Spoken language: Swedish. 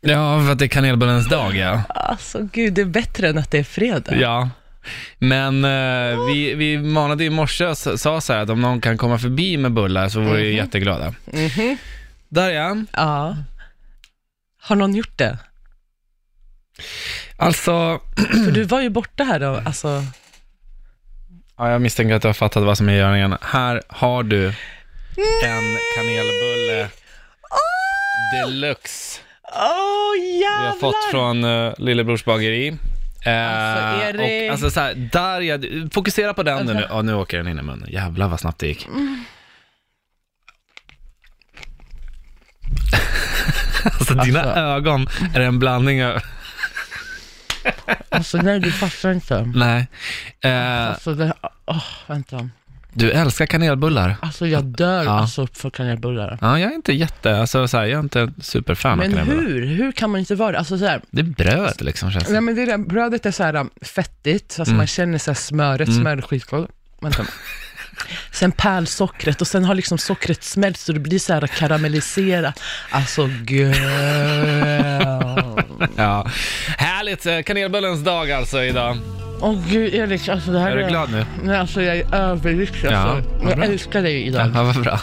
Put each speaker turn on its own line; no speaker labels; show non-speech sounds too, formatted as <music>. Ja, för att det är kanelbullens dag ja.
Alltså gud, det är bättre än att det är fredag.
Ja. Men eh, vi, vi manade i morse och s- sa så här att om någon kan komma förbi med bullar så vore vi jätteglada.
Mhm.
Där är han.
Ja. Har någon gjort det?
Alltså,
För du var ju borta här då, alltså.
ja, jag misstänker att du har fattat vad som är i görningen. Här har du en kanelbulle deluxe.
Åh oh, jävlar!
Vi har fått från eh, Lillebrors bageri. Eh,
Alltså, Erik. Alltså.
och, alltså så här, där jag, fokusera på den nu. Ja, nu åker den in i munnen. Jävlar vad snabbt det gick.
Mm.
<laughs> alltså dina
Alltså.
ögon är en blandning av...
Alltså nej, du fattar inte.
Nej. Eh,
Alltså det, åh, vänta.
du älskar kanelbullar.
Alltså jag dör
Ja.
alltså för kanelbullar.
Ja, jag är inte jätte, alltså så här, jag är inte superfan av
Men
kanelbullar.
hur? Hur kan man inte vara det? Alltså så här,
Det är bröd liksom känns
nej
det.
men det där brödet är så här um, fettigt, så att
Mm.
man känner så här smöret, smör är skitgott.
<laughs>
Vänta. Sen pärlsockret och sen har liksom sockret smält så det blir så här karamelliserat.
<laughs>
Alltså girl.
Ja. Härligt, eh, kanelbullens dag alltså idag.
Åh gud Erik, alltså det här
Är du glad nu?
Nej, alltså jag är överlycklig. Alltså.
Ja, vad
jag
bra.
älskar dig idag.
Ja, vad bra.